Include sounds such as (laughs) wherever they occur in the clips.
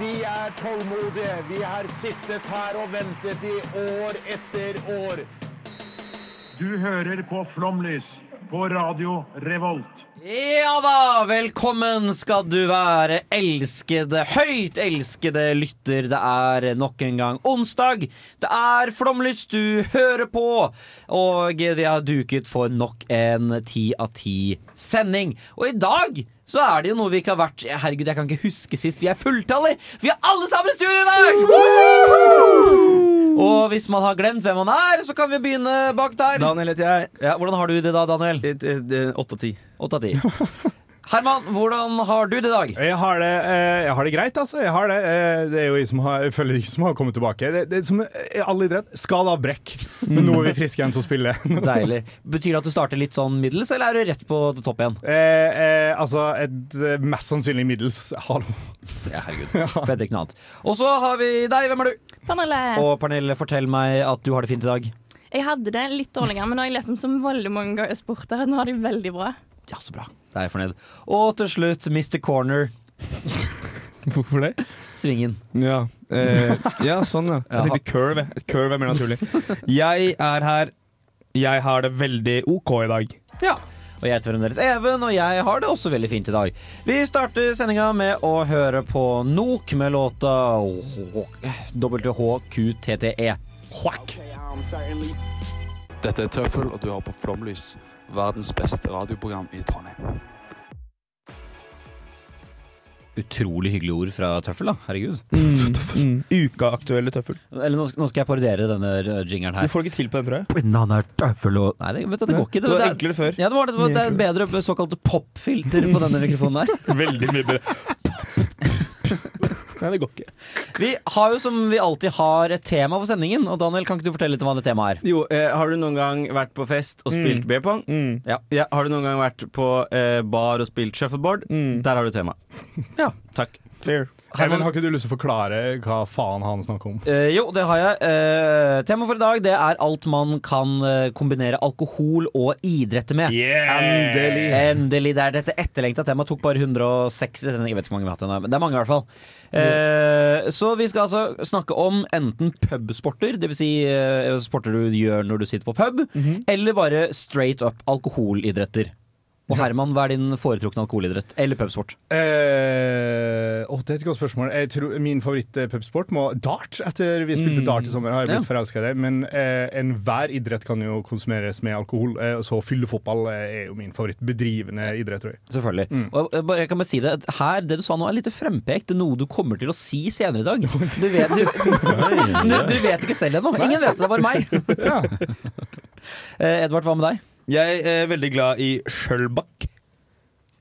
Vi er tålmodige. Vi har sittet her og ventet i år etter år. Du hører på Flomlys på Radio Revolt. Ja da! Velkommen skal du være, elskede, høyt elskede lytter. Det er nok en gang onsdag. Det er Flomlys du hører på. Og vi har duket for nok en ti av ti-sending. Og i dag så er det jo noe vi ikke har vært Herregud, jeg kan ikke huske sist. Vi er fulltallige! Vi er alle sammen i studio i dag! Og hvis man har glemt hvem man er, så kan vi begynne bak der. Daniel heter jeg. Ja, hvordan har du det da, Daniel? Et- et- et- Åtte av ti. Åtte av ti. (laughs) Herman, hvordan har du det i dag? Jeg har, det, eh, jeg har det greit, altså. Jeg har det. Eh, Det er jo jeg som har, jeg føler jeg som har kommet tilbake. Det, det er som i all idrett. Skal av brekk. Men nå er vi friske igjen til å (laughs) spille. Eh, Deilig. Betyr det at du starter litt sånn middels, eller er du rett på topp igjen? eh, altså, et eh, mest sannsynlig middels hallo. Ja, herregud. Fett ikke noe annet. Og så har vi deg. Hvem er du? Pernille, Og Pernille, fortell meg at du har det fint i dag. jeg hadde det litt dårligere, men nå har jeg lest om så veldig mange sportere. Nå har de veldig bra. Ja, så bra. Da er jeg fornøyd. Og til slutt Mr. Corner. Hvorfor det? Svingen. Ja, eh, ja sånn, ja. Jeg tenkte curve. jeg. Curve er mer naturlig. Jeg er her. Jeg har det veldig OK i dag. Ja. Og jeg heter fremdeles Even, og jeg har det også veldig fint i dag. Vi starter sendinga med å høre på Nok med låta WHQTTE. Whack. Dette er Tøffel, og du hører på Flomlys, verdens beste radioprogram i Trondheim. Utrolig hyggelige ord fra Tøffel, da. Herregud. Mm, mm. Ukaaktuelle tøffel. Eller nå, nå skal jeg parodiere denne eh, jingeren Du her. får ikke til på den, tror jeg. Brennan er tøffel og Nei, det, vet du, det går ikke. Det var det, enklere før. ja, det, var, det, var, det er bedre med såkalt popfilter på denne mikrofonen (laughs) her. (laughs) Veldig mye bedre. (laughs) Nei, det går ikke. Vi har jo som vi alltid har et tema for sendingen, og Daniel, kan ikke du fortelle litt om hva det temaet er? Jo, eh, har du noen gang vært på fest og spilt beer pong? Mm. Ja, har du noen gang vært på eh, bar og spilt shuffleboard? Mm. Der har du tema. Ja. Takk. Fair. Herman, har ikke du lyst til å forklare hva faen han snakker om? Eh, jo, det har jeg. Uh, Temaet for i dag det er alt man kan eh, kombinere alkohol og idrett med. Endelig. Endelig. Det er dette etterlengta temaet. Tok bare 160 sendinger. Jeg vet ikke hvor mange vi har hatt ennå, men det er mange i hvert fall. Eh, så vi skal altså snakke om enten pubsporter, dvs. Si, eh, sporter du gjør når du sitter på pub, eller bare straight up alkoholidretter. Og Herman, hva er din foretrukne alkoholidrett? Eller pubsport? Eh, åh, det er et godt spørsmål. Jeg tror Min favoritt-pubsport må Dart. Etter vi spilte dart i sommer, har jeg blitt forelska i det. Men eh, enhver idrett kan jo konsumeres med alkohol, eh, og så fyllefotball eh, er jo min favorittbedrivende idrett, tror jeg. Selvfølgelig. Og jeg, bare, jeg kan bare si det at her, Det du sa nå, er litt frempekt. Det er noe du kommer til å si senere i dag. Du vet, du, du, du vet ikke selv ennå. Ingen vet det, det er bare meg. (laughs) Eh, Edvard, hva med deg? Jeg eh, er veldig glad i Sjølbakk.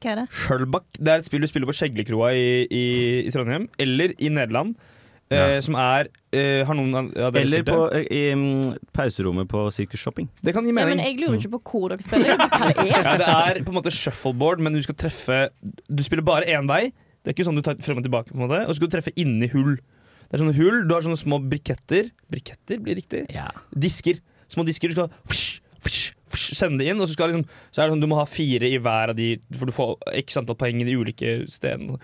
Hva er det? Sjølbakk. Det er et spill du spiller på Skjeglekroa i, i, i Trondheim, eller i Nederland. eh, som er eh, Har noen av av dere Eller spilt det? på, eh, i mm, pauserommet på Sirkus Shopping. Det kan gi Ja, men mening. jeg lurer ikke på hvor dere spiller. Jeg vet ikke Hva det (laughs) er. Ja, det er på en måte shuffleboard, men du skal treffe Du spiller bare én vei. Det er ikke sånn du tar frem og tilbake, på en måte. Og så skal du treffe inni hull. Det er sånne hull, Du har sånne små briketter Briketter blir riktig? Disker. Små disker. Du skal fsh, fsh, fsh, sende det inn, og så, skal liksom, så er det sånn du må ha fire i hver av de, for du får x antall poeng i de ulike stedene.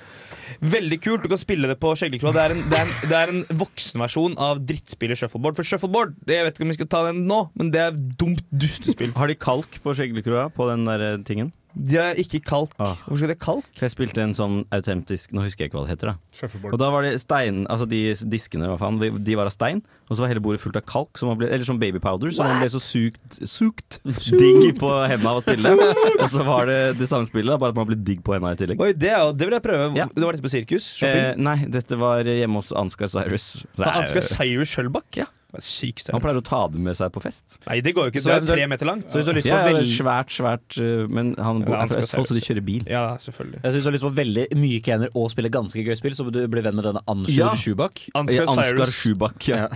Veldig kult. Du kan spille det på skjeggekroa. Det, er en- det, er en- det er en voksenversjon av drittspillet shuffleboard. For shuffleboard, det, jeg vet ikke om vi skal ta den nå, men det er et dumt dustespill. Har de kalk på Skjeglekroa på den der eh, tingen? De er ikke kalk. Ah. Hvorfor skal det kalk? For jeg spilte en sånn autentisk Nå husker jeg ikke hva det heter, da. Og Shuffleboard. da var det stein Altså de diskene, hva faen. De var av stein, og så var hele bordet fullt av kalk, som man ble, eller sånn baby powder, så man ble så sukt Sukt digg på hendene av å spille. Og så var det det samme spillet, da, bare at man ble digg på hendene i tillegg. Oi, det, er jo- det vil jeg prøve. Ja. Det var dette på sirkus? Eh, Shopping? nei, dette var hjemme hos Ansgar Cyrus. Ansgar Cyrus Sjølbakk? Ja. Det er syk Han stemme. pleier å ta det med seg på fest. Nei, det går jo ikke. Så Det er eventuelt- tre meter langt. Så hvis du har lyst på Ja, ja, det er veldig svært, svært eh, Men han bor Ja, han er fra skal Østfold, så de kjører bil. Ja, selvfølgelig. Jeg synes du har lyst på veldig myke hender og spille ganske gøy spill, så må du bli venn med denne Anshur Ja. Schubach. Ansgar Ansgar Cyrus. Schubach. Ja.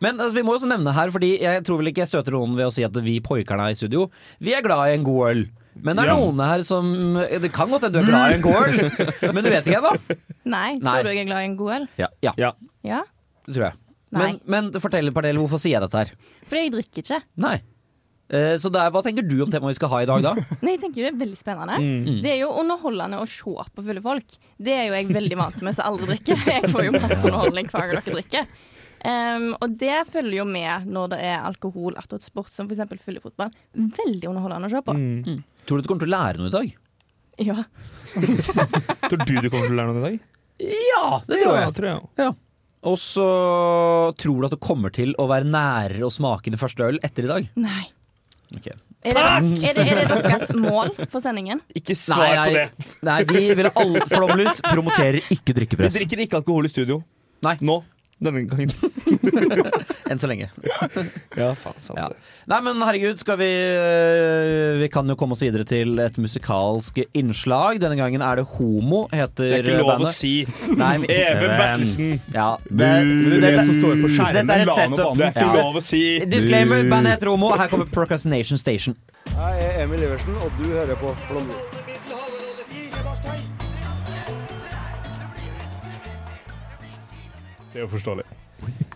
Men altså, vi må også nevne her, fordi jeg tror vel ikke jeg støter noen ved å si at vi poikerne her i studio, vi er glad i en god øl. Men det er Ja. noen her som eh, Det kan godt hende du er glad i en god øl, (laughs) men du vet ikke ennå. Nei, Nei. tror du jeg er glad i en god øl? Ja, Ja. Ja. det tror jeg. Nei. Men, men fortell, Pernille, hvorfor sier jeg dette her? For jeg drikker ikke. Nei. Eh, Så der, hva tenker du om temaet vi skal ha i (laughs) dag, da? Nei, jeg tenker det er veldig spennende. Mm. Det er jo underholdende å se på fulle folk. Det er jo jeg veldig vant med som aldri drikker. Jeg får jo masse underholdning hver gang dere drikker. Ehm, og det følger jo med når det er alkohol attåt sport, som f.eks. fyllefotball. Veldig underholdende å se på. Mm. Tror du du kommer til å lære noe i dag? Ja. Tror du du kommer til å lære noe i dag? Ja, det tror ja, jeg. Tror jeg. også. Og så tror du at du kommer til å være nærere å smake din første øl etter i dag? Nei. Ok. Er det, er, det, er det deres mål for (laughs) sendingen? Ikke svar på det. Nei, vi vil alle Flomlys promoterer ikke Vi drikkepress. drikker ikke alkohol i studio. Nei. Nå. Denne gangen. Enn så lenge. Ja, faen, sant Ja. det. Nei, men herregud, skal vi øh, Vi kan jo komme oss videre til et musikalsk innslag. Denne gangen er det Homo, heter Det er ikke lov å bandet. si. Nei, men- Øh, Even Bertelsen. Ja, Det er det som dette- står på skjermen. Dette er et La han opp setup. annen. Det er ikke lov å si. Disclaimer, bandet heter Homo. Her kommer Procrastination Station. Jeg er Emil Iversen, og du hører på Flåmlys. Det er jo forståelig.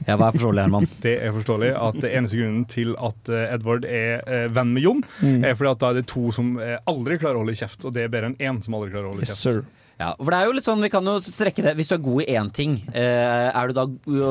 Ja, Hva er forståelig, Herman? Det er forståelig at det eneste grunnen til at eh, Edvard er eh, venn med Jon, er fordi at da er det to som eh, aldri klarer å holde kjeft, og det er bedre enn én som aldri klarer å holde kjeft. Ja, for det er jo litt sånn, vi kan jo strekke det Hvis du er god i én ting, eh, er du da,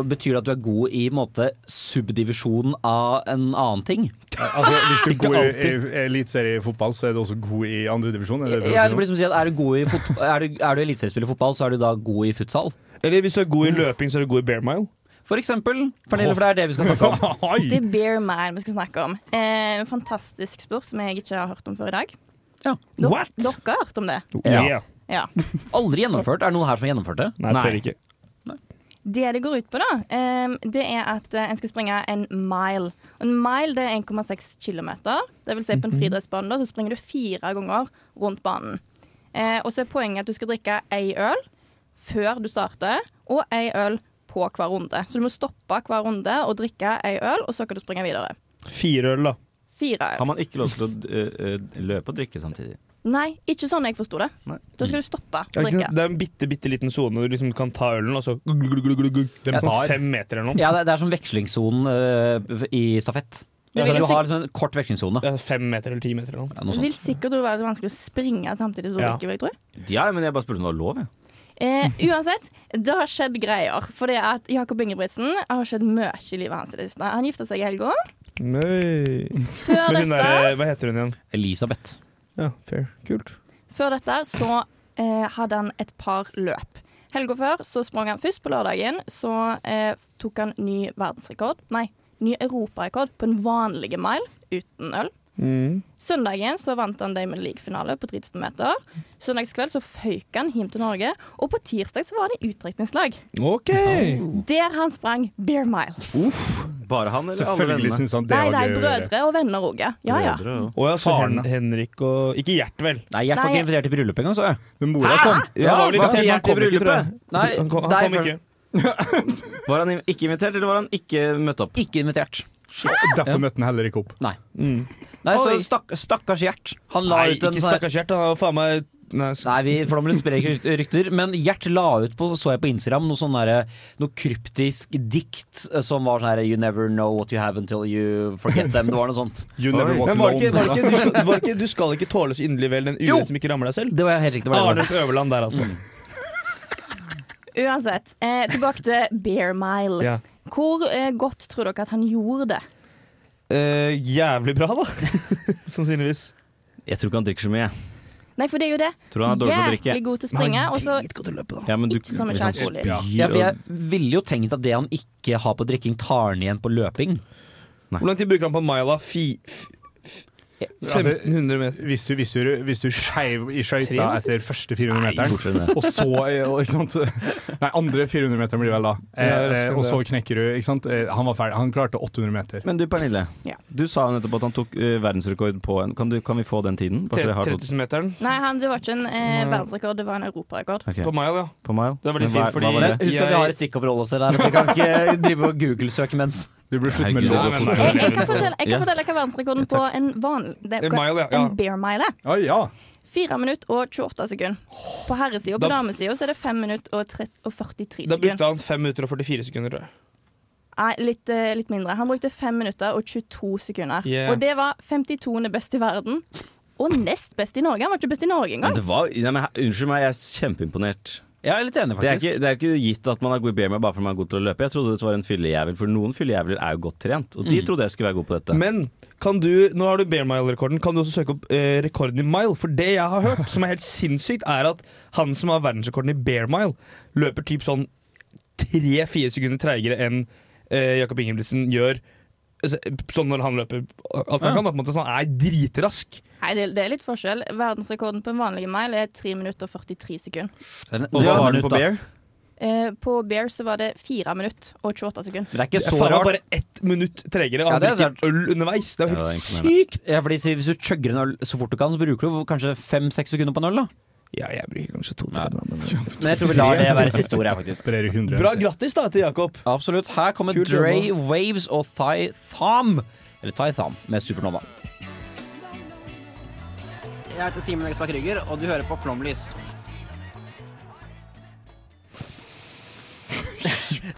betyr det at du er god i på en måte, subdivisjonen av en annen ting? Altså, hvis du er Ikke god i, alltid. i eliteserie i fotball, så er du også god i andredivisjon. Ja, det blir sånn som å si liksom at er du, god i fot- er du, er du eliteseriespiller i fotball, så er du da god i futsal. Eller hvis du er god i løping, så er du god i bear mile. For eksempel. Pernille, for det er det vi skal snakke om. Det er Beer Mile vi skal snakke om. Eh, en fantastisk sport som jeg ikke har hørt om før i dag. Ja. Dere- What? Dere har hørt om det? Ja. Ja. Aldri gjennomført. Er det noen her som har gjennomført det? Nei, jeg tør ikke. Det det går ut på, da, ehm, det er at eh, en skal springe en mile. Og en mile det er 1,6 km. Det vil si Mhm. på en friidrettsbane da, så springer du fire ganger rundt banen. Eh, og så er poenget at du skal drikke ei øl før du starter, og ei øl på hver runde. Så du må stoppe hver runde og drikke ei øl, og så kan du springe videre. Fire øl, da. Fire øl. Har man ikke lov til å eh, eh, løpe og drikke samtidig? Nei, ikke sånn jeg forsto det. Nei. Da skal du stoppe å Er det, ikke, drikke. sant? det er en bitte, bitte liten sone hvor du liksom kan ta ølen, og så Det Ja. er bare fem meter eller noe. Ja, det, det er som vekslingssonen øh, i stafett. Ja, Altså, det du vil har liksom en kort vekslingssone. Det er fem meter eller ti meter eller noe. Ja, noe Det vil sånt. sikkert være vanskelig å springe samtidig som du Ja. drikker, vil jeg tro. Ja, men jeg bare spurte om det var lov, jeg. Eh, uansett, det har skjedd greier. For det at Jakob Ingebrigtsen har skjedd mye i livet hans i det siste. Han gifta seg i helga. Nei. Før Men hun dette, der, hva heter hun igjen? Elisabeth. Ja, fair. Kult. før dette så eh, hadde han et par løp. Helga før så sprang han først på lørdagen. Så eh, tok han ny verdensrekord, nei, ny europarekord på en vanlig mile uten øl. Søndagen så vant han Diamond League-finale på 3000 meter. Søndagskveld så føyk han hjem til Norge, og på tirsdag så var det utdrikningslag. OK! Der han sprang beer mile. Bare han eller alle Selvfølgelig vennene? syns han det Nei, nei, var gøy. å gjøre. brødre og venner òg, ja. Ja, ja. Brødre og- Å ja, så Faren, Hen da. Henrik og Ikke Gjert, vel? Nei, jeg får Nei. ikke invitert til bryllup engang, så jeg. Men mora kom. Ja, han var vel hva invitert, men fikk han Gjert i kom ikke, tror jeg. bryllupet? Nei, han kom, der han kom først. ikke. Var han i- ikke invitert, eller var han ikke møtt opp? Ikke invitert. Derfor møtte han heller ikke opp. Nei. Nei, så Oi. stakk, stakkars Gjert. Han la Nei, ut en ikke sånn her- stakkars Gjert. Han har faen meg Nei, s- Nei, vi Flomlys sprer ikke rykt- rykter, men Gjert la ut på, så jeg på Instagram, noe sånn derre- noe kryptisk dikt eh, som var sånn her You never know what you have until you forget them. Det var noe sånt. You never Oi. walk Men var det ikke, var alone. det ikke, du, skal, var det ikke, du skal ikke tåle så inderlig vel den Jo. urett som ikke rammer deg selv? (laughs) Det var helt riktig. Det var det. Arnulf Øverland der, altså. Uansett. Eh, tilbake til Bear Mile. (laughs) Ja. Hvor eh, godt tror dere at han gjorde det? Eh, jævlig bra, da. (laughs) Sannsynligvis. Jeg tror ikke han drikker så mye. jeg. Nei, for det er jo det. Tror han er dårlig på å drikke. Jæklig god til å springe. Og så Ja, men du, liksom- Ikke som en hvis han kjæreste, Ole. spyr Ja, for og- jeg ville jo tenkt at det han ikke har på drikking, tar han igjen på løping. Hvor lang tid bruker han på Maila? Fi, f, 1500 meter. Hvis du, hvis du, hvis du skeiv i Tre skøyta meter? etter første 400 meteren, fortere enn det. og så og, ikke sant? Nei, andre 400 meter blir det vel da. Eh, Ja, raskere eh, og så knekker du, ikke sant. Eh, Han var ferdig. Han klarte 800 meter. Men du Pernille, Ja. du sa jo nettopp at han tok eh, verdensrekord på en kan, du, kan vi få den tiden? Bare så jeg har det 3000-meteren Nei, han, det var ikke en eh, verdensrekord, det var en europarekord. Ok, på mile, ja. på mile? Det er veldig Men hva- fint, hva fordi- var Men det? Husk at vi har et stikkord å forholde oss til her, så vi kan (laughs) ikke drive og google-søke mens Du burde slutte med Herregud, lov. det var Jeg, fort. jeg kan fortelle, jeg Ja. kan fortelle hva verdensrekorden på en vanlig det, En mile, ja, ja. En bear mile er. Å ja. 4 minutter og 28 sekunder. På herresida. På Da- damesida så er det 5 minutter og, 30, og 43 Da brukte sekunder. han 5 minutter og 44 sekunder. tror jeg. Nei, litt, eh, litt mindre. Han brukte 5 minutter og 22 sekunder. Yeah. Og det var 52. best i verden. Og nest best i Norge. Han var ikke best i Norge Men engang. det var, nei, men, he- unnskyld meg, jeg er kjempeimponert. Jeg er litt enig, Det er, faktisk. ikke, det er ikke gitt at man er god i bearmare bare fordi man er god til å løpe. Jeg trodde det var en fyllejævel, for noen fyllejævler er jo godt trent. Og de trodde jeg skulle være god på dette. Men kan du, nå har du Bear Mile-rekorden. Kan du også søke opp eh, rekorden i mile? For det jeg har hørt, som er helt sinnssykt, er at han som har verdensrekorden i Bear Mile, løper typ sånn tre-fire sekunder treigere enn eh, Jakob Ingebrigtsen gjør. Altså, Sånn når han løper alt han kan. Da, på en måte, så han er dritrask. Nei, det, det er litt forskjell. Verdensrekorden på en vanlig mile er 3 minutter og 43 sekunder. Men Og hva var den på bear? Eh, på bear så var det 4 minutter og 28 sekunder. Det er ikke Så så var rart. bare ett minutt tregere. Ja, Han det er drikker øl underveis. Det er jo Ja, det er helt imponerende. sykt! Ja, fordi si- Hvis du chugger en øl så fort du kan, så bruker du kanskje fem-seks sekunder på en øl. da Ja, jeg bruker kanskje to-tre. Men jeg tror vi lar det være siste ordet. her, faktisk Opererer 100. Bra, grattis da til Jakob. Absolutt. Her kommer Kul Dre, demo. Waves og Thigh Thumb. Eller Thigh Thumb med Supernova. Jeg heter Simen Ekstad Krüger, og du hører på Flomlys.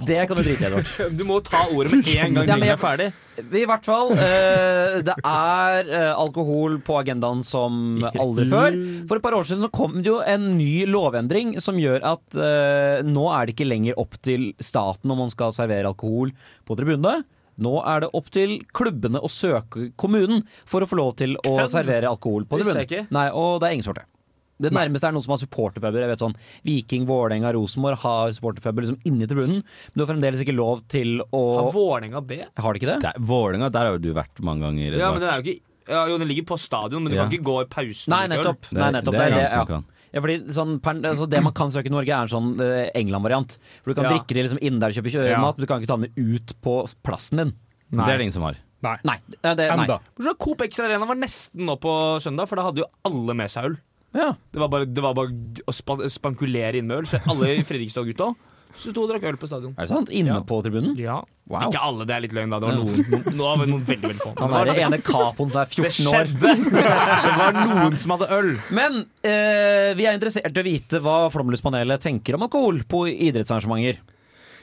Det kan du drite i, Edvard. Du må ta ordet med en gang. Ja, men Ringen jeg- er ferdig. I hvert fall. eh, det er eh, alkohol på agendaen som aldri før. For et par år siden så kom det jo en ny lovendring som gjør at eh, nå er det ikke lenger opp til staten om man skal servere alkohol på tribunene. Nå er det opp til klubbene å søke kommunen for å få lov til å servere alkohol på Visste tribunen. jeg ikke. Nei, og det er ingen som har det. Det nærmeste er noen som har supporterpuber. Jeg vet sånn, Viking, Vålerenga, Rosenborg har supporterpuber liksom inni tribunen. Men du har fremdeles ikke lov til å Har Vålerenga B? Har de ikke det? Der, Vålerenga, der har jo du vært mange ganger. Ja, men Edvard. den er jo ikke ja, Jo, den ligger på stadion, men du Ja. kan ikke gå i pausen. Nei, og drikke øl. nettopp. Det er- Nei, nettopp. det er Det, er det, ingen som ja. kan. Ja, fordi sånn, per- altså det man kan søke i Norge, er en sånn eh, England-variant. For Du kan Ja. drikke det liksom inne der du kjøper kjø- Ja. mat, men du kan ikke ta den med ut på plassen din. Det er det ingen som har. Nei. Nei. Det, det, nei. Enda. Bortsett fra Coop Extra Arena var nesten nå på søndag, for da hadde jo alle med seg øl. Ja. Det var bare, det var bare å spa spankulere inn med øl. Så alle i Fredrikstad-gutta Så sto og drakk øl på stadion. Er det sant? Inne Ja. på tribunen? Ja. Wow. Ikke alle, det er litt løgn, da. Det var noen, nå var det noen veldig veldig få. Men Han det var- er den ene capoen som er det 14 år. skjedde! Det var noen som hadde øl. (laughs) Men eh, vi er interessert i å vite hva Flomlyspanelet tenker om alkohol på idrettsarrangementer.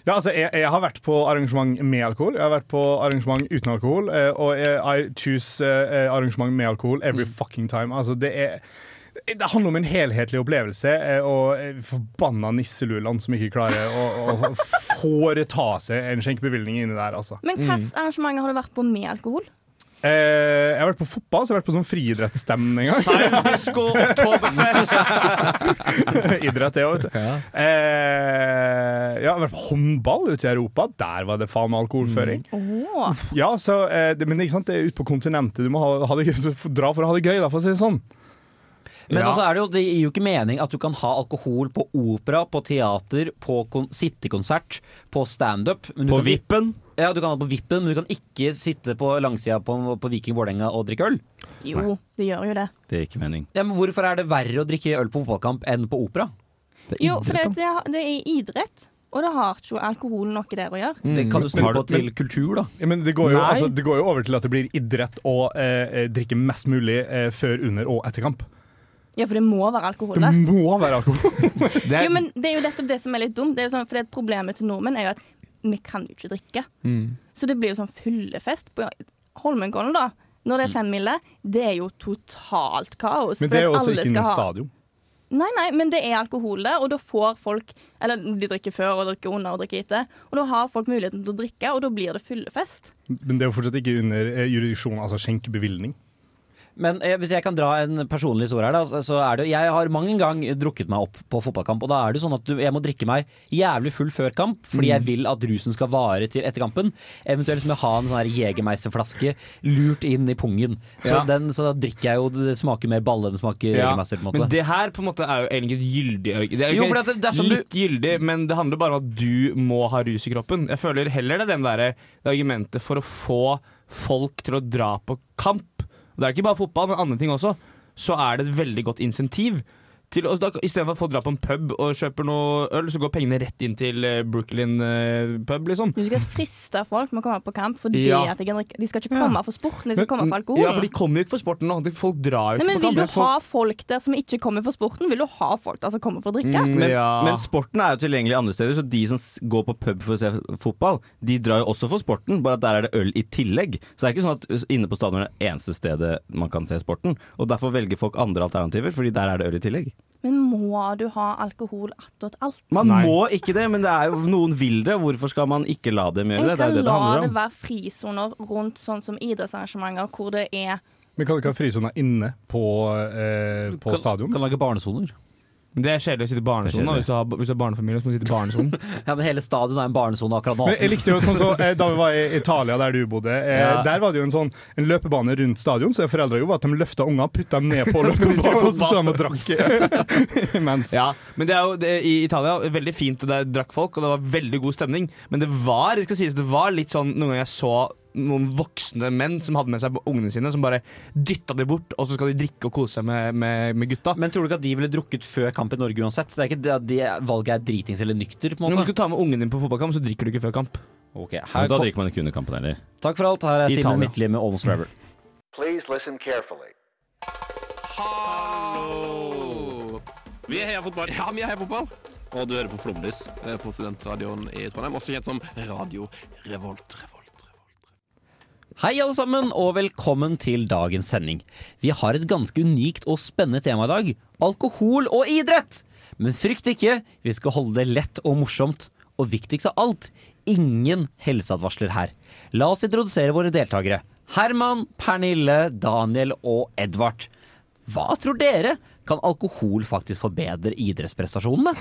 Ja, altså, jeg, jeg har vært på arrangement med alkohol. Jeg har vært på arrangement uten alkohol. eh, og jeg, I choose eh, arrangement med alkohol every fucking time. Altså, det er det handler om en helhetlig opplevelse eh, og eh, forbanna nisseluland som ikke klarer å, å foreta seg en skjenkebevilgning inni der, altså. Men hvilke arrangementer har du vært på med alkohol? Eh, jeg har vært på fotball, så jeg har vært på sånn friidrettsstevne en gang. Disko, Oktoberfest (laughs) Idrett, det òg, vet du. Eh, ja, jeg har vært på håndball ute i Europa. Der var det faen meg alkoholføring. Åh. Ja, så, eh, det, men ikke sant, det er ute på kontinentet. Du må ha, ha det gøy, så f- dra for å ha det gøy, da, for å si det sånn. Men Ja. også er det, jo, det gir jo ikke mening at du kan ha alkohol på opera, på teater, på kon sittekonsert, på standup. men du På kan- vippen. Ja, du kan ha det på vippen, men du kan ikke sitte på langsida på, på Viking Vålerenga og drikke øl. Jo, det gjør jo det. Det gir ikke mening. Ja, men Hvorfor er det verre å drikke øl på fotballkamp enn på opera? Jo, for det, det, det er idrett, og det har ikke alkohol noe der å gjøre. Det kan du snu Har du- på til kultur, da. Ja, men det går, jo, Nei. altså, det går jo over til at det blir idrett å eh, eh, drikke mest mulig eh, før, under og etter kamp. Ja, for det må være alkohol Det der. må være (laughs) alkohol. Jo, men det er jo nettopp det som er litt dumt. Det er jo sånn, for det problemet til nordmenn er jo at vi kan jo ikke drikke. Så det blir jo sånn fyllefest på Holmenkollen, da. Når det er femmile, det er jo totalt kaos. Men det er fordi jo at også alle ikke skal noe ha- stadion. Nei, nei, men det er alkohol der, og da får folk Eller de drikker før og drikker under og drikker etter. Og da har folk muligheten til å drikke, og da blir det fyllefest. Men det er jo fortsatt ikke under eh, jurisdiksjon, altså skjenkebevilgning. Men eh, hvis jeg kan dra en personlig historie her, da, så- så er det Jeg har mang en gang drukket meg opp på fotballkamp, og da er det jo sånn at du, jeg må drikke meg jævlig full før kamp, fordi jeg vil at rusen skal vare til etter kampen. Eventuelt med å ha en sånn her Jegermeisterflaske lurt inn i pungen. Så, Ja. den, så da drikker jeg jo Det smaker mer balle enn det smaker Jegermeister, på en måte. Men det her på en måte er jo egentlig et gyldig argument. Det er Jo, ikke for det er- det er som du- litt gyldig, men det handler bare om at du må ha rus i kroppen. Jeg føler heller det er den der, det argumentet for å få folk til å dra på kamp. Det er ikke bare fotball, men andre ting også. Så er det et veldig godt insentiv. Til, å- da, I stedet for at folk drar på en pub og kjøper noe øl, så går pengene rett inn til eh, Brooklyn eh, pub, liksom. Du skal friste folk med å komme på kamp fordi Ja. at de kan drikke. De skal ikke komme for sporten, de skal komme for alkoholen. Ja, for de kommer jo ikke for sporten nå. De- Folk Nei, drar jo ikke men på Vil du kamp. ha folk der som ikke kommer for sporten? Vil du ha folk der som kommer for å drikke? Mm, Men, ja. men sporten er jo tilgjengelig andre steder, så de som s- går på pub for å se fotball, de drar jo også for sporten, bare at der er det øl i tillegg. Så det er ikke sånn at inne på stadion er det eneste stedet man kan se sporten. Og derfor velger folk andre alternativer, fordi der er det øl i tillegg. Men må du ha alkohol attåt alt? Man må ikke det, men det er jo noen vil det. og Hvorfor skal man ikke la dem En gjøre det? Det kan er jo det det la handler det om. være frisoner rundt sånn som idrettsarrangementer hvor det er Men kan du ikke ha frisona inne på, eh, på stadion? Kan lage barnesoner. Det er kjedelig å sitte i barnesonen da, hvis du har, hvis du har barnefamilie som sitter i barnesonen. Ja, men hele stadion er en barnesone akkurat nå. Men jeg likte jo sånn så, eh, Da vi var i Italia, der du bodde, eh, Ja. der var det jo en sånn en løpebane rundt stadion. Så foreldra gjorde at de løfta unger, putta dem ned på løpebanen, og så sto de og drakk (laughs) imens. Ja, men det er jo det, i Italia veldig fint, og der drakk folk, og det var veldig god stemning. Men det var det skal sies, det var litt sånn noen ganger jeg så noen voksne menn som hadde med seg ungene sine, som bare dytta de bort, og så skal de drikke og kose seg med, med, med gutta. Men tror du ikke at de ville drukket før kamp i Norge uansett? Det er ikke det at de, valget er dritings eller nykter, på Når en du måte. skal ta med ungen din på fotballkamp, så drikker du ikke før kamp. Ok, her Men da kom- drikker man ikke under kampen heller. Takk for alt. Her er Simen Italia. Midtli med Almost Forever. Please listen carefully. Vi heier fotball. Ja, vi heier fotball. Og du hører på Flomlys eh, på studentradioen i Trondheim, også kjent som Radio Revolt. Revolt. Hei, alle sammen, og velkommen til dagens sending. Vi har et ganske unikt og spennende tema i dag. Alkohol og idrett! Men frykt ikke, vi skal holde det lett og morsomt. Og viktigst av alt, ingen helseadvarsler her. La oss introdusere våre deltakere. Herman, Pernille, Daniel og Edvard. Hva tror dere? Kan alkohol faktisk forbedre idrettsprestasjonene?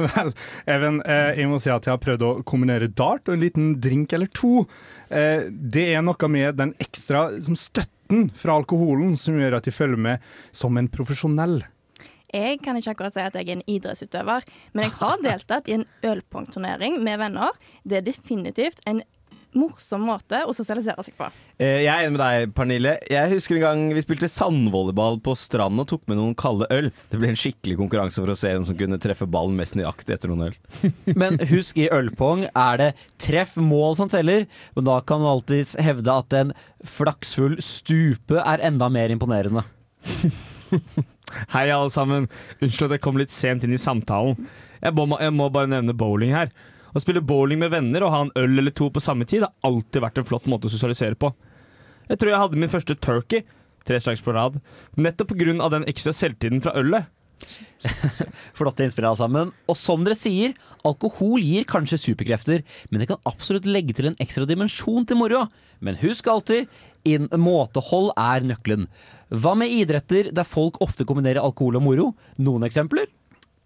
Vel, Even, eh, jeg må si at jeg har prøvd å kombinere dart og en liten drink eller to. Eh, det er noe med den ekstra som støtten fra alkoholen som gjør at de følger med som en profesjonell. Jeg kan ikke akkurat si at jeg er en idrettsutøver, men jeg har deltatt i en ølpongturnering med venner. Det er definitivt en morsom måte å sosialisere seg på. Eh, Jeg er enig med deg, Pernille. Jeg husker en gang vi spilte sandvolleyball på stranden og tok med noen kalde øl. Det ble en skikkelig konkurranse for å se hvem som kunne treffe ballen mest nøyaktig etter noen øl. Men husk, i ølpong er det treff mål som teller, men da kan man alltids hevde at en flaksfull stupe er enda mer imponerende. Hei, alle sammen. Unnskyld at jeg kom litt sent inn i samtalen. Jeg må, jeg må bare nevne bowling her. Å spille bowling med venner og ha en øl eller to på samme tid har alltid vært en flott måte å sosialisere på. Jeg tror jeg hadde min første turkey, tre slags på rad, nettopp pga. den ekstra selvtiden fra ølet. Flotte innspill, alle sammen. Og som dere sier, alkohol gir kanskje superkrefter, men det kan absolutt legge til en ekstra dimensjon til moroa. Men husk alltid, inn måtehold er nøkkelen. Hva med idretter der folk ofte kombinerer alkohol og moro? Noen eksempler?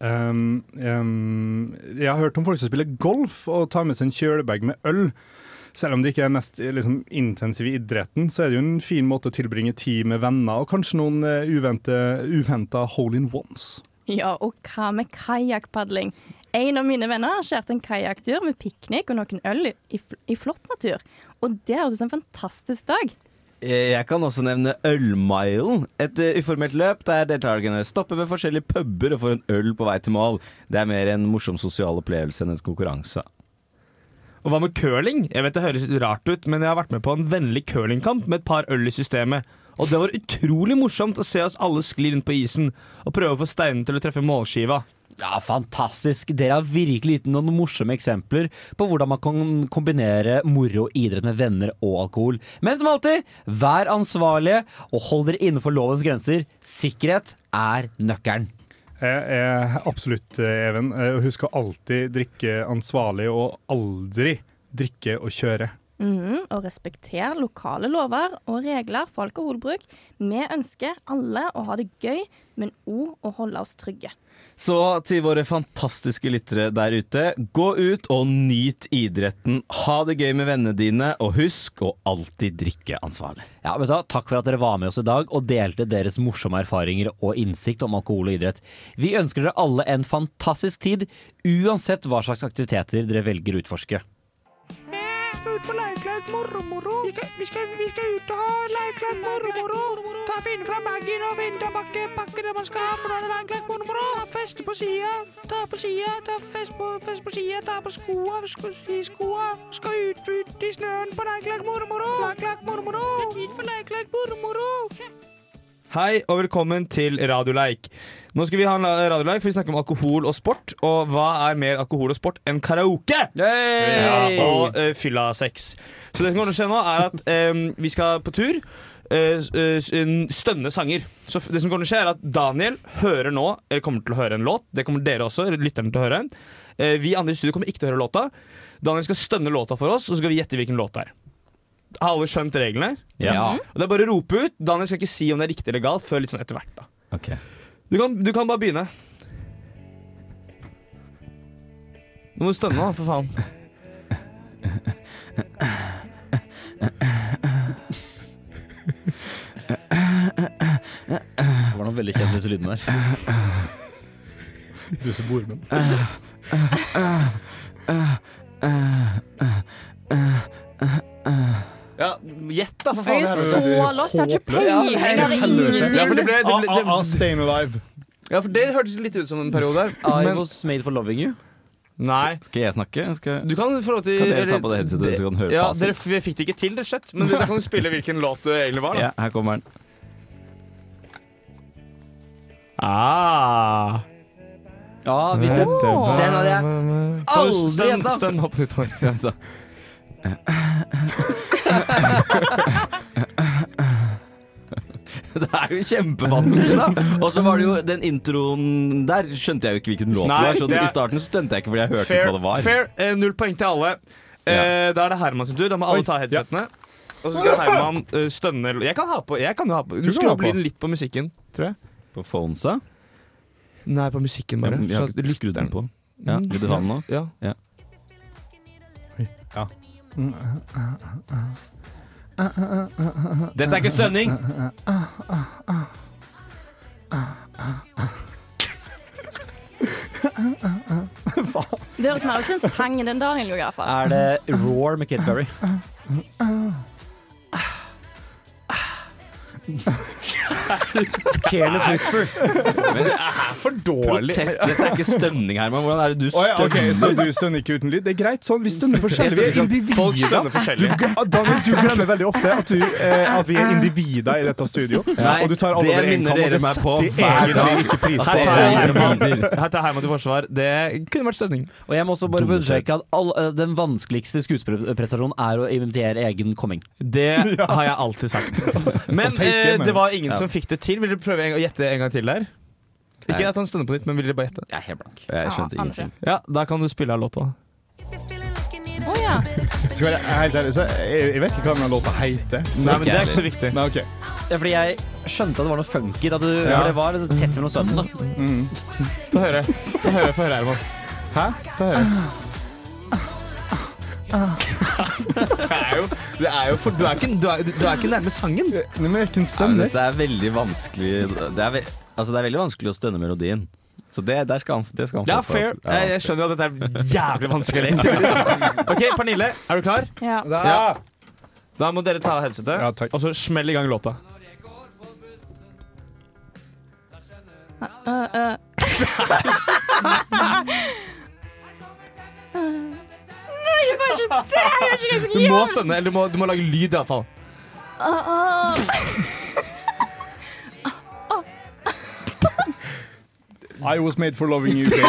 Um, um, jeg har hørt om folk som spiller golf og tar med seg en kjølebag med øl. Selv om det ikke er den mest eh, liksom, intensive idretten, så er det jo en fin måte å tilbringe tid med venner, og kanskje noen eh, uvente, uventa hole-in-ones. Ja, og hva med kajakkpadling? En av mine venner arrangerte en kajakktur med piknik og noen øl i, fl- i flott natur. Og det høres ut som en fantastisk dag. Eh, Jeg kan også nevne Ølmilen. Et eh, uformelt løp der deltakerne stopper ved forskjellige puber og får en øl på vei til mål. Det er mer en morsom sosial opplevelse enn en konkurranse. Og hva med curling? Jeg vet det høres litt rart ut, men jeg har vært med på en vennlig curlingkamp med et par øl i systemet. Og det var utrolig morsomt å se oss alle skli rundt på isen og prøve å få steinene til å treffe målskiva. Ja, fantastisk. Dere har virkelig gitt noen morsomme eksempler på hvordan man kan kombinere moro og idrett med venner og alkohol. Men som alltid, vær ansvarlige og hold dere innenfor lovens grenser. Sikkerhet er nøkkelen. Jeg er absolutt, eh, Even. Eh, og Husk å alltid drikke ansvarlig, og aldri drikke og kjøre. Mhm, og respekter lokale lover og regler for alkoholbruk. Vi ønsker alle å ha det gøy, men òg å holde oss trygge. Så til våre fantastiske lyttere der ute, gå ut og nyt idretten. Ha det gøy med vennene dine, og husk å alltid drikke ansvarlig. Ja, vet du, hva? Takk for at dere var med oss i dag og delte deres morsomme erfaringer og innsikt om alkohol og idrett. Vi ønsker dere alle en fantastisk tid, uansett hå slags aktiviteter dere velger å utforske. Hei og velkommen til Radioleik. Nå skal vi ha en la- radioleik, for vi snakker om alkohol og sport. Og hva er mer alkohol og sport enn karaoke? Ja, og uh, fylla sex. Så det som kommer til å skje nå, er at eh, vi skal på tur. eh, s- eh, s- en stønne sanger. Så f- det som kommer til å skje er at Daniel hører nå Eller kommer til å høre en låt. Det kommer dere også, lytterne, til å høre. Eh, vi andre i studio kommer ikke til å høre låta. Daniel skal stønne låta for oss, og så skal vi gjette hvilken låt det er. Har alle skjønt reglene? Ja. Og Det er bare å rope ut. Daniel skal ikke si om det er riktig eller galt før litt sånn etter hvert. da Ok. Du kan, du kan bare begynne. Nå må du stønne, da, for faen. Det var noen veldig kjent disse lydene der. Du som bor med den. Ja, Gjett, da, for Jeg faen. er så lost, jeg har ikke peiling. Jeg har Ja, for det ingen ble, det ble, det, A-a-a, Stayin' Alive. ja, for det hørtes litt ut som en periode her. I (laughs) Men, was made for loving you. nei. Skal jeg snakke? Skal... Du kan få lov til Kan dere ta eller- på det headsetet, så kan du høre Ja, fasit? dere f- vi fikk det ikke til, rett og slett. Men da kan du spille hvilken låt det egentlig var. da Ja, her kommer den. ah. Ja, vi den. Den hadde jeg Kan du aldri stønn- gjetta. Stønn opp litt. (laughs) Torg? Det er jo kjempevanskelig, da! Og så var det jo den introen der skjønte jeg jo ikke hvilken låt det Nei, var. Så det er- I starten så stunte jeg ikke fordi jeg hørte Fair. hva det var. fair. Eh, null poeng til alle. Eh, da er det Herman sin tur. Da må alle ta headsetene. Og så skal Herman eh, stønne Jeg kan ha på. Jeg kan jo ha på. Du kan skal ha bli på. litt på musikken, tror jeg. På Fonesa? Nei, på musikken Jeg bare. jeg har ikke skrudd den på. Ja, Vil du ha den nå? Ja. Dette er ikke stønning! Det høres mer ut som en sang enn den Daniel gjorde, iallfall. Er det Roar med Kate Berry? Careless Whisper. For dårlig. Protest. Dette er ikke stønning, Herman. Hvordan er det du Å ja, stønner? ok, Så du stønner ikke uten lyd? Det er greit sånn. Vi stønner forskjellig. Vi er Folk individer. stønner forskjellig. Du- ah, Daniel, du glemmer veldig ofte at, du, eh, at vi er individer i dette studio. Nei, og du tar alle det over én kam, minner og dere det meg på setter hver dag. egentlig ikke pris At på. det Her er tar Herman- individer. her tar Herman til forsvar. Det kunne vært stønning. Og jeg må også bare Dumme understreke at all, eh, den vanskeligste skuespillerprestasjonen er å imitere egen komming. (laughs) Det har jeg alltid (laughs) sagt. Men fake, eh, mener det jeg. var ingen som fikk det til. Vil dere prøve en, å gjette en gang til der? Ikke Nei. at han stønner på nytt, men vil dere bare gjette? Jeg er helt blank. Jeg skjønte Ja, ingenting. Ja, Da kan du spille av låta. Å ja. Skal jeg være helt ærlig, så jeg, jeg vet ikke hva den låta heter. Så. Nei, men Det er ikke så viktig. Nei, ok. Ja, fordi jeg skjønte at det var noe funky da du Ja. For det var litt tett mellom sønnen, da. Få høre. Få høre, få høre, Herman. Hæ? Få (laughs) høre. Det er jo, det er jo for, du, er ikke, du, er, du er ikke nærme sangen. Nei, men hvilken Ja, men stønner? dette er veldig vanskelig det er, ve altså, det er veldig vanskelig å stønne melodien. Så det, der skal han, det skal han Ja, få for fair. at- ja, Jeg, jeg vanskelig. skjønner jo at dette er jævlig vanskelig. (laughs) egentlig. OK, Pernille, er du klar? ja. Ja. Da må dere ta av headsetet, Ja, takk. og så smell i gang låta. Øh, øh. Nei, jeg var ikke det! Jeg var ikke det som Du (laughs) må stønne, eller du må, du må lage lyd, iallfall. I was made for loving you, baby.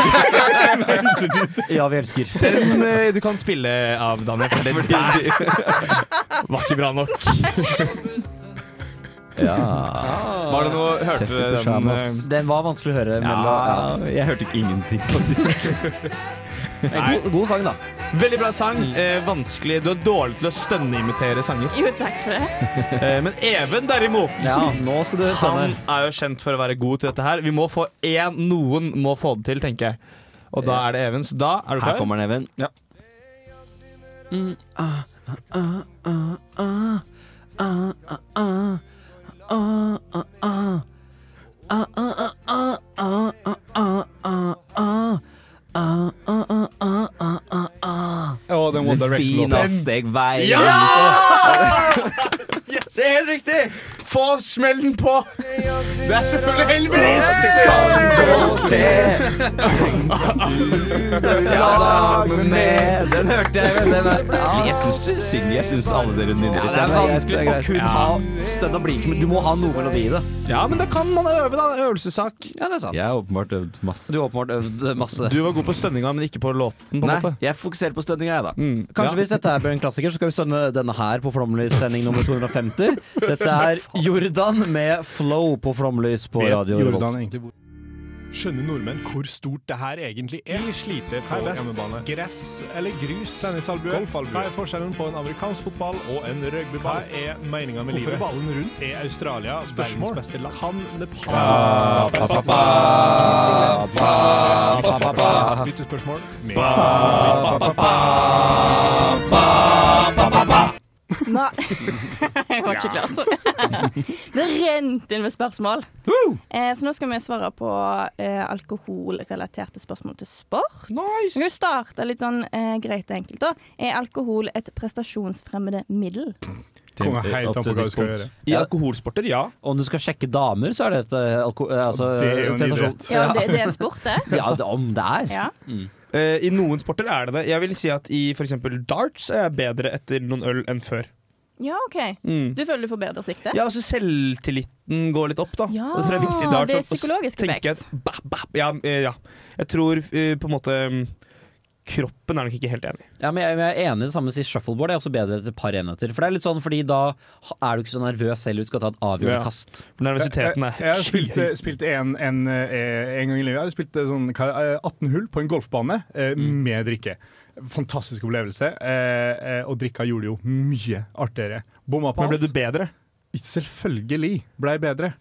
Ja, vi elsker. Den eh, du kan spille av, Daniel. For den der var ikke bra nok. Ja. Var det noe Hørte Tøffe du den? eh, pyjamas. Den var vanskelig å høre. Men (laughs) ja, jeg hørte ikke ingenting, faktisk. god, god sang, da. Veldig bra sang. Eh, vanskelig. Du er dårlig til å stønneimitere sanger. Jo, takk for det. Eh, men Even, derimot Ja, nå skal du Han skjønne. er jo kjent for å være god til dette her. Vi må få én Noen må få det til, tenker jeg. Og da er det Even. Så da er du Her klar? kommer den, Even. Å, den One Fin Direction-låten. avsteg vei. Det er helt riktig! Få smellen på! Det er selvfølgelig Elvis! Ja, damen med. Den hørte jeg, men den er Jeg syns du synger. Jeg syns alle dere nynner litt. Det er vanskelig å kun ha stønn og blink, men du må ha noe melodi i det. Ja, men da kan man øve, da. Øvelsessak. Ja, det er sant. Jeg har åpenbart øvd masse. Du har åpenbart øvd masse. Du var god på stønninga, men ikke på låten. på en Nei, måte. jeg fokuserer på stønninga, jeg, da. Mm, Kanskje ja. hvis dette her blir en klassiker, så skal vi stønne denne her på Flomlys sending nummer 250. Dette er Jordan med Flow på Flomlys på Radio Revolt. Jordan egentlig bor Skjønner nordmenn hvor stort det her egentlig er? Vi sliter på hjemmebane. Gress eller grus? Tennisalbue? Hva er forskjellen på en amerikansk fotball og en rugbyball? Hva er meninga med livet? Hvorfor er ballen rundt? Er Australia verdens beste land? Kan Nepal Lyttespørsmål med Nei. (laughs) Jeg var ikke klar, altså. (laughs) Det rent inn med spørsmål. Eh, så nå skal vi svare på eh, alkoholrelaterte spørsmål til sport. Vi kan jo starte litt sånn eh, greit og enkelt. da. Er alkohol et prestasjonsfremmende middel? Kommer helt an på hva du skal gjøre. I alkoholsporter, ja. Om du skal sjekke damer, så er det et eh, alko... eh, Altså, Det er jo en prestasjon. idrett. Ja, det, det er en sport, det. Ja, det- om det er. Ja. Eh, I noen sporter er det det. Jeg vil si at i f.eks. darts er jeg bedre etter noen øl enn før. ja, OK. Mm. Du føler du får bedre sikte? Ja, altså Selvtilliten går litt opp, da. Ja, det tror jeg er viktig i darts. det er at- å s- psykologisk tenke effekt. at bah, bah, ja, eh, ja. Jeg tror eh, på en måte mm, Kroppen er nok ikke helt enig. Ja, men jeg, jeg er enig i det samme som shuffleboard. Det er også bedre etter et par enheter. For det er litt sånn, fordi da er du ikke så nervøs heller. Du skal ta et avgjørende Ja. kast. Nervøsiteten er Jeg, jeg har spilt, eh, spilt en, en, eh, en gang i livet. Jeg har spilt eh, sånn, hva, eh, 18 hull på en golfbane eh, Mm. med drikke. Fantastisk opplevelse. eh, eh, Og drikka gjorde det jo mye artigere. Bomma på Men ble du alt. bedre? Selvfølgelig blei bedre.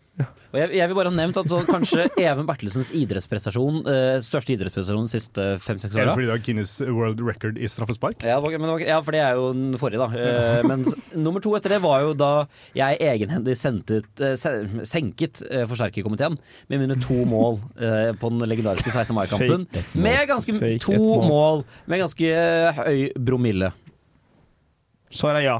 Og jeg, jeg vil bare ha nevnt at så (laughs) kanskje Even Bertelsens idrettsprestasjon, eh, største idrettsprestasjon de siste fem-seks Er åra det fordi du har Guinness World Record i straffespark? Ja, det var- men, det var- ja, for det er jo den forrige, da. (laughs) Eh, Men s- nummer to etter det var jo da jeg egenhendig sendte ut, eh, se- senket eh, forsterkerkomiteen med mine to mål eh, på den legendariske 16. mai-kampen. Fake et mål. Med ganske Fake et to mål. mål med ganske eh, høy bromille. Svaret er ja.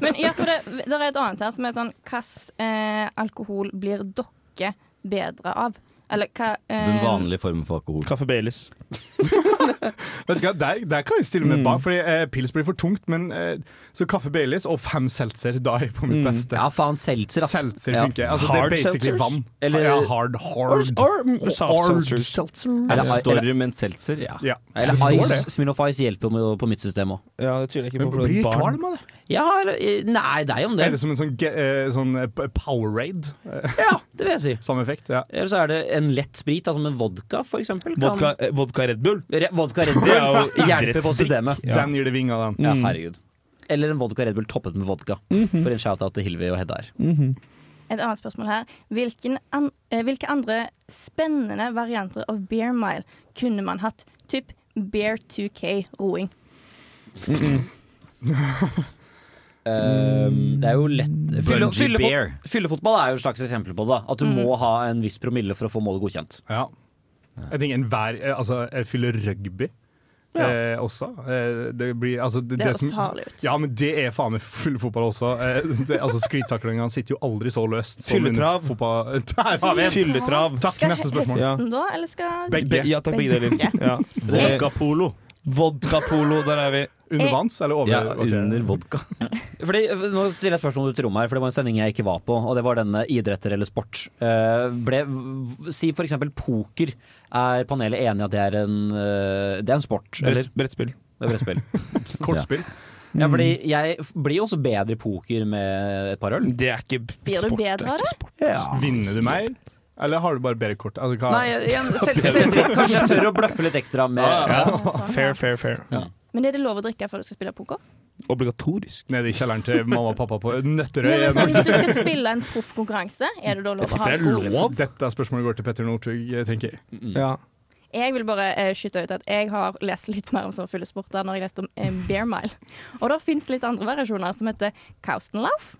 Men ja, for det, det er et annet her som er sånn Hvilken eh, alkohol blir dere bedre av? Eller hva eh, Den vanlige formen for alkohol. Kaffe Baileys. Vet du hva, Der, der kan jeg stille meg Mm. bak, fordi eh, pils blir for tungt. Men eh, så kaffe Baileys og fem seltzer, da er jeg på mitt Mm. beste. Ja, faen, seltzer, ass. Seltzer Ja. funker. Altså, det Hard er basically seltzers? vann. Eller- ja, hard, hard. Or, or Hard soft seltzers. Eller- Storm en seltzer, ja. Ja. Eller Det står det. Ice, Smirnoff Ice hjelper med, på mitt system òg. Ja, det tviler jeg ikke Men på. for det er blir barn. kvalm av det? Ja, eller eh, Nei, det er jo om Er det det. som en sånn, ge- eh, sånn eh, p- Powerade? Eh, Ja, det vil jeg si. Samme effekt, ja. Eller så er det en lett sprit, da, som en vodka, for eksempel. kan- Vodka, eh, vodka Red Bull. Re- Vodka Red Det er (laughs) (laughs) Bull jo hjelper på idrettsdrikk. systemet. Ja. Den gir det vinger, den. Ja, herregud. Eller en vodka Red Bull toppet med vodka. For en shout-out til Hilvi og Hedda her. Et annet spørsmål her. Hvilken an, eh, hvilke andre spennende varianter av beer mile kunne man hatt? Typ Bear 2K roing. Ehm, det er jo lett fylle, Bungee fylle, bear. Fyllefotball er jo et slags eksempel på det. da. At du må ha en viss promille for å få målet godkjent. Ja. Jeg tenker enhver eh, Altså, jeg fyller rugby eh, også. Eh, det blir Altså, det, Det det høres som farlig ut. Ja, men det er faen meg full fotball også. Eh, det, altså, Sklittaklingene sitter jo aldri så løst som en Fylletrav. fotball... (laughs) Der har vi en! Fylletrav. Takk, Skal neste spørsmål. Ja. hesten da, eller skal Be- Begge. Ja takk, begge deler. Begge. Ja. Vodka polo. Vodka Polo, der er vi. Under vanns eller over? Ja, ok. under vodka. Fordi, øh, nå stiller jeg spørsmål til rommet her, for det var en sending jeg ikke var på. Og det var denne idretter eller sport. Eh, ble, v- si for eksempel poker. Er panelet enig i at det er en, øh, det er en sport? Eller? Brett, brettspill. Det er brettspill. (laughs) Kortspill. Ja, Mm. fordi jeg f- blir jo også bedre i poker med et par øl. Det er ikke Blir du sport. bedre av det? Ja. Vinner du mer? Eller har du bare bedre kort? Altså, hva- Nei, igjen, selv, selvtillit. Kanskje jeg tør å bløffe litt ekstra med Fair, fair, fair. sånn, Men er det lov å drikke før du skal spille poker? Obligatorisk. Nede i kjelleren til mamma og pappa på Nøtterøy. Nei, men hjemme. sånn, hvis du skal spille en proffkonkurranse, er det da lov å ha alkohol? Dette spørsmålet går til Petter Northug, eh, tenker jeg. Mm. Ja. Jeg vil bare eh, skyte ut at jeg har lest litt mer om sånne fyllesporter når jeg leste om eh, Bear Mile. Og det fins litt andre variasjoner som heter Kaustenlauf.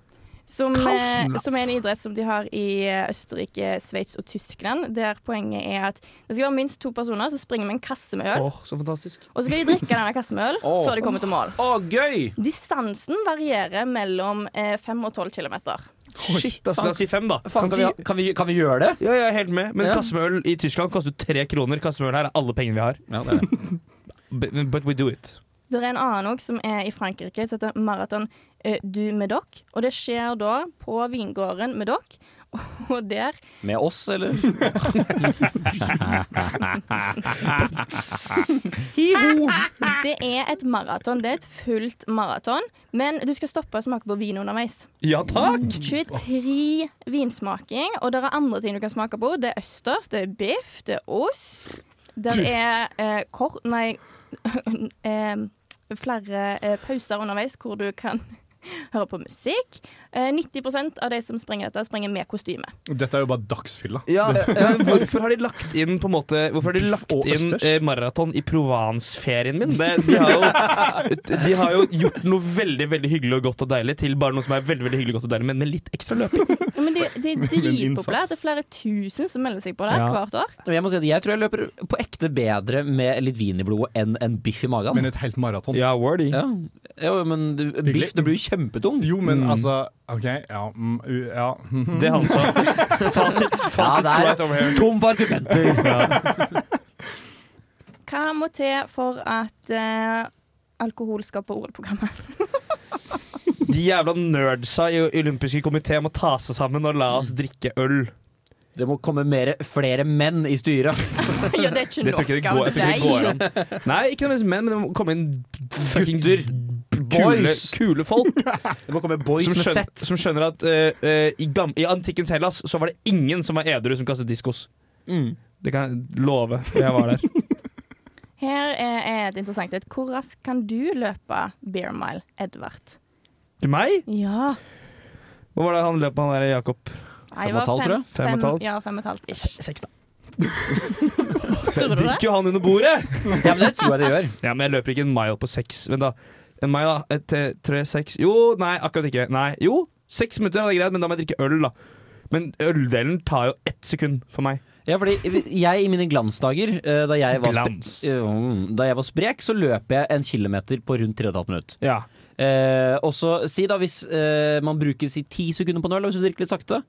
Som, eh, Kaustenlauf. som er en idrett som de har i eh, Østerrike, Sveits og Tyskland. Der poenget er at det skal være minst to personer som springer med en kasse med øl. Åh, så fantastisk. Og så skal de drikke denne kassen med øl før de kommer til mål. Å, gøy! Distansen varierer mellom eh, 5 og 12 km. Shit, altså, la oss si fem, da. Faen, kan, vi, kan, vi, kan vi gjøre det? Ja, jeg er helt med. Men Ja. kasse med øl i Tyskland koster tre kroner. Kasse med øl her er alle pengene vi har. Ja, det er det. (laughs) But, but we do it. Det er en annen òg som er i Frankrike, som heter Marathon eh, du Medoc. Og det skjer da på vingården Medoc. (laughs) Og der Med oss, eller? Det er et maraton. Det er et fullt maraton. Men du skal stoppe og smake på vin underveis. Ja takk! 23 vinsmaking, og det er andre ting du kan smake på. Det er østers, det er biff, det er ost. Det er eh, kor... Nei (laughs) eh, Flere eh, pauser underveis hvor du kan (laughs) høre på musikk. Eh, 90 av de som springer dette, springer med kostyme. Dette er jo bare dagsfylla. Ja, eh, hvorfor har de lagt inn på en måte Hvorfor har de lagt og inn østers? eh, maraton i Provence-ferien min? Det, de, har jo, de har jo gjort noe veldig veldig hyggelig og godt og deilig til bare noe som er veldig veldig hyggelig og godt og deilig, men med litt ekstra løping. Ja, men det, det er dritpopulært. Det er flere tusen som melder seg på det Ja. hvert år. (laughs) Jeg må si at jeg tror jeg løper på ekte bedre med litt vin i blodet enn en biff i magen. Men et helt maraton. Ja, wordy. ja. ja, men du, biff, det blir jo kjempetung. Jo, men altså OK, ja. Mm, u- ja. mhm. Det han sa. (laughs) Fasit. Ja, Fasit det er- right over here. Tom for argumenter. Hva må til for at eh, alkohol skal på OL-programmet? De jævla nerdsa i olympiske komité må ta seg sammen og la oss drikke øl. Det må komme mere, flere menn i styret. (laughs) ja, det er ikke Det tror nok jeg ikke det går, jeg tror ikke det går an. Nei, ikke nødvendigvis menn, men det må komme inn gutter. Kule, Boys. kule folk Det må komme boys som, med skjønner, sett. som skjønner at eh, eh, i, gam i antikkens Hellas så var det ingen som var edru som kastet diskos. Det kan jeg love. Jeg var (laughs) der. Her er er et interessant et. Hvor raskt kan du løpe Bear Mile, Edvard? Til meg? Ja. Hva var det han løp med, han der Jakob? Nei, det Fem og var et halvt, fem- tror jeg. Fem og et halvt. fem- Ja, fem og et halvt ish. Seks, da. Tror du det? Drikker jo han under bordet! Ja, men det (laughs) tror jeg det gjør. Ja, men jeg løper ikke en mile på seks. Vent, da. En mile, da. Et, eh, tre, seks Jo, nei, akkurat ikke. Nei, jo. Seks minutter hadde jeg greid, men da må jeg drikke øl, da. Men øldelen tar jo ett sekund for meg. Ja, fordi jeg i mine glansdager, eh, da jeg var, spre Glans. Mm, da jeg var sprek, så løp jeg en kilometer på rundt 3,5 minutter. Ja. Eh, og så si da hvis eh, man bruker si ti sekunder på en øl, og hvis du drikker litt sakte,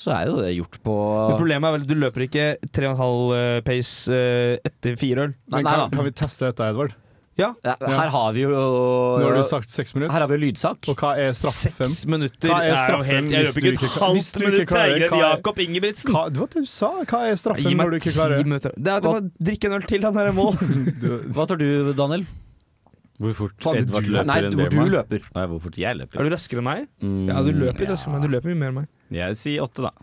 så er jo det gjort på Men problemet er vel at du løper ikke 3,5 eh, pace eh, etter fire øl. Nei, Men nei da. kan, kan vi teste dette, Edvard? Ja, her har vi jo Nå har du sagt seks minutter. Her har vi jo lydsak. Og hva er straffen? Seks minutter Hva er er, jo straffen helt Jeg hvis løper du ikke et ikke klarer- hvis halvt du ikke minutt klarer- treigere enn hva er- Jakob Ingebrigtsen. Hva, det var det du sa? Hva er straffen Gi når meg du ikke ti klarer minutter. Det er, det var, drikk en øl til, han er i mål. Hva tar du, Daniel? Hvor fort Faen, Edvard du- løper Nei, en hvor Bearman. du løper. Nei, hvor fort jeg løper. Er du raskere enn meg? Mm, Ja, du løper litt ja. raskere enn meg. Du løper mye mer enn meg. Jeg sier åtte, da.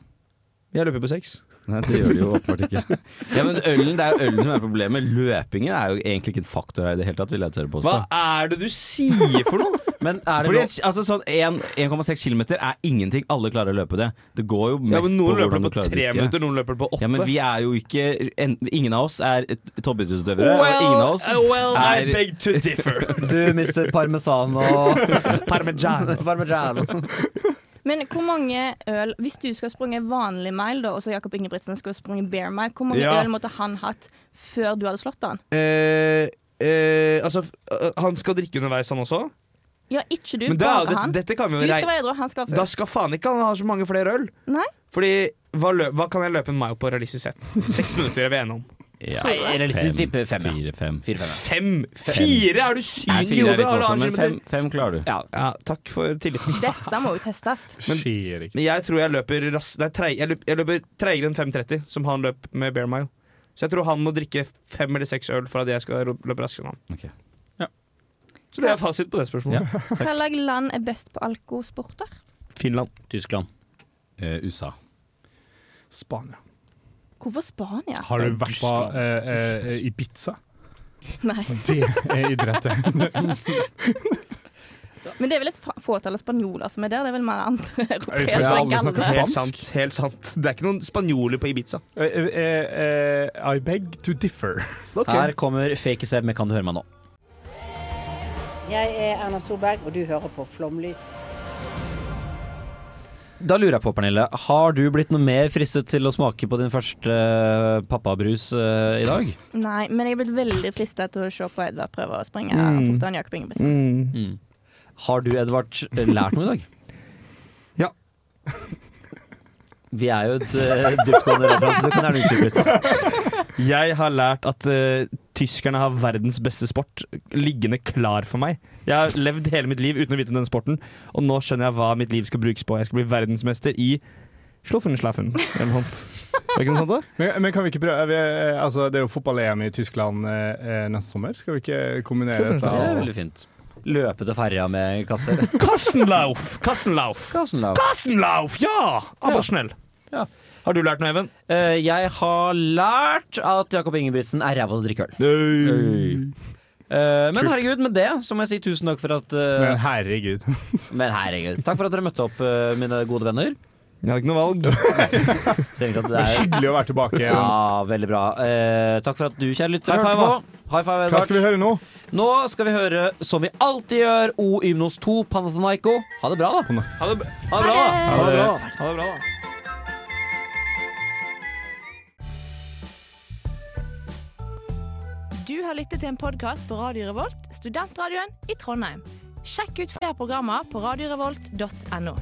Jeg løper på seks. Nei, det gjør du (laughs) jo åpenbart ikke. Ja, men ølen, Det er jo ølen som er problemet. Løpingen er jo egentlig ikke en faktor her i det hele tatt, vil jeg tørre påstå. Hva er det du sier for (laughs) noe? Men er det Fordi lov- altså, sånn en- 1,6 km er ingenting. Alle klarer å løpe det. Det går jo mest Ja, men på Noen løper hvordan det du på klarer å tre drikke. minutter, noen løper det på åtte. Ja, men vi er jo ikke en, Ingen av oss er et- toppidrettsutøvere. og ingen av oss well, I er- beg to differ. Du mister parmesan og Parmesan. parmesan. Men hvor mange øl Hvis du skal sprunge vanlig mile, da, og så Jakob Ingebrigtsen skulle sprunge Bear Mile, hvor mange Ja. øl måtte han hatt før du hadde slått han? (laughs) Eh, eh, altså, f- eh, han skal drikke underveis, han også. Ja, ikke du, Men da, bare det, han. dette kan vi Du jo rei... skal være edru, han skal være Da full. skal faen ikke han ha så mange flere øl. Nei. Fordi hva, lø hva kan jeg løpe en mile på realistisk sett? Seks minutter er vi enige om. ja, Eller liksom tippe fem, ja. fire, fem. Fire-fem. ja. Fem? Fire? Er du syk Nei, i fire hodet? er litt Har du voldsomt, annen men fem, kilometer? fem klarer du. Ja, ja, takk for (laughs) tilliten. Dette må jo testes. (laughs) Skjer ikke. Men jeg tror jeg løper ras det er trei jeg løp- jeg løper treigere enn 5.30, som han løp med Bear Mile. Så jeg tror han må drikke fem eller seks øl for at jeg skal ro- løpe raskere enn han. Ok. Så det er fasit på det spørsmålet. Hvilket land er best på alkosporter? Finland. Tyskland. Eh, USA. Spania. Hvorfor Spania? Har du vært på Augusta. eh, eh, Ibiza? Nei. Det er idrett. Men det er vel et fa- fåtall av spanjoler som er der. Det er vel mer andre for europeere alle og snakker spansk. galler. Helt sant. helt sant Det er ikke noen spanjoler på Ibiza. (laughs) Eh, eh, eh, I beg to differ. Her kommer Fakeseb med Kan du høre meg nå? Jeg er Erna Solberg, og du hører på Flomlys. Da lurer jeg på, Pernille, har du blitt noe mer fristet til å smake på din første eh, pappabrus eh, i dag? Nei, men jeg er blitt veldig fristet til å se på Edvard prøve å sprenge Mm. fortere enn Jakob Ingebrigtsen. Har du, Edvard, lært noe i dag? Ja. Vi er jo et uh, dyptgående radioprogram, så det kan gjerne utdype litt. Jeg har lært at eh, tyskerne har verdens beste sport liggende klar for meg. Jeg har levd hele mitt liv uten å vite om denne sporten, og nå skjønner jeg hva mitt liv skal brukes på. Jeg skal bli verdensmester i Schluffenschlaffen eller noe sånt. Er det ikke noe sånt, da? Men, men kan vi ikke prøve vi, eh, altså, Det er jo fotball-EM i Tyskland eh, eh, neste sommer. Skal vi ikke kombinere Selvfølgelig. dette? Det er og- veldig fint. Løpe til ferja med kasser. Kastenlauf! Kastenlauf! Kassenlav. Kastenlauf! Ja! Ja. Aber schnell. Ja. Har du lært noe, Even? Eh, jeg har lært at Jakob Ingebrigtsen er ræva til å drikke øl. Eh, men herregud, med det så må jeg si tusen takk for at eh, Men herregud. Men herregud, takk for at dere møtte opp, eh, mine gode venner. Jeg hadde ikke noe valg. Så egentlig at det (laughs) er Hyggelig å være tilbake. igjen. Ja, veldig bra. Eh, takk for at du, kjære lytter, High five, hørte på. High five, Hva skal vi Edvard. høre nå? Nå skal vi høre, som vi alltid gjør, O Ymnos 2, Panathinaiko. Ha det bra, da. Ha det, b- Ha det bra. ha det bra. Ha det bra, da. Du har lyttet til en podkast på Radio Revolt, studentradioen i Trondheim. Sjekk ut flere programmer på radiorevolt.no.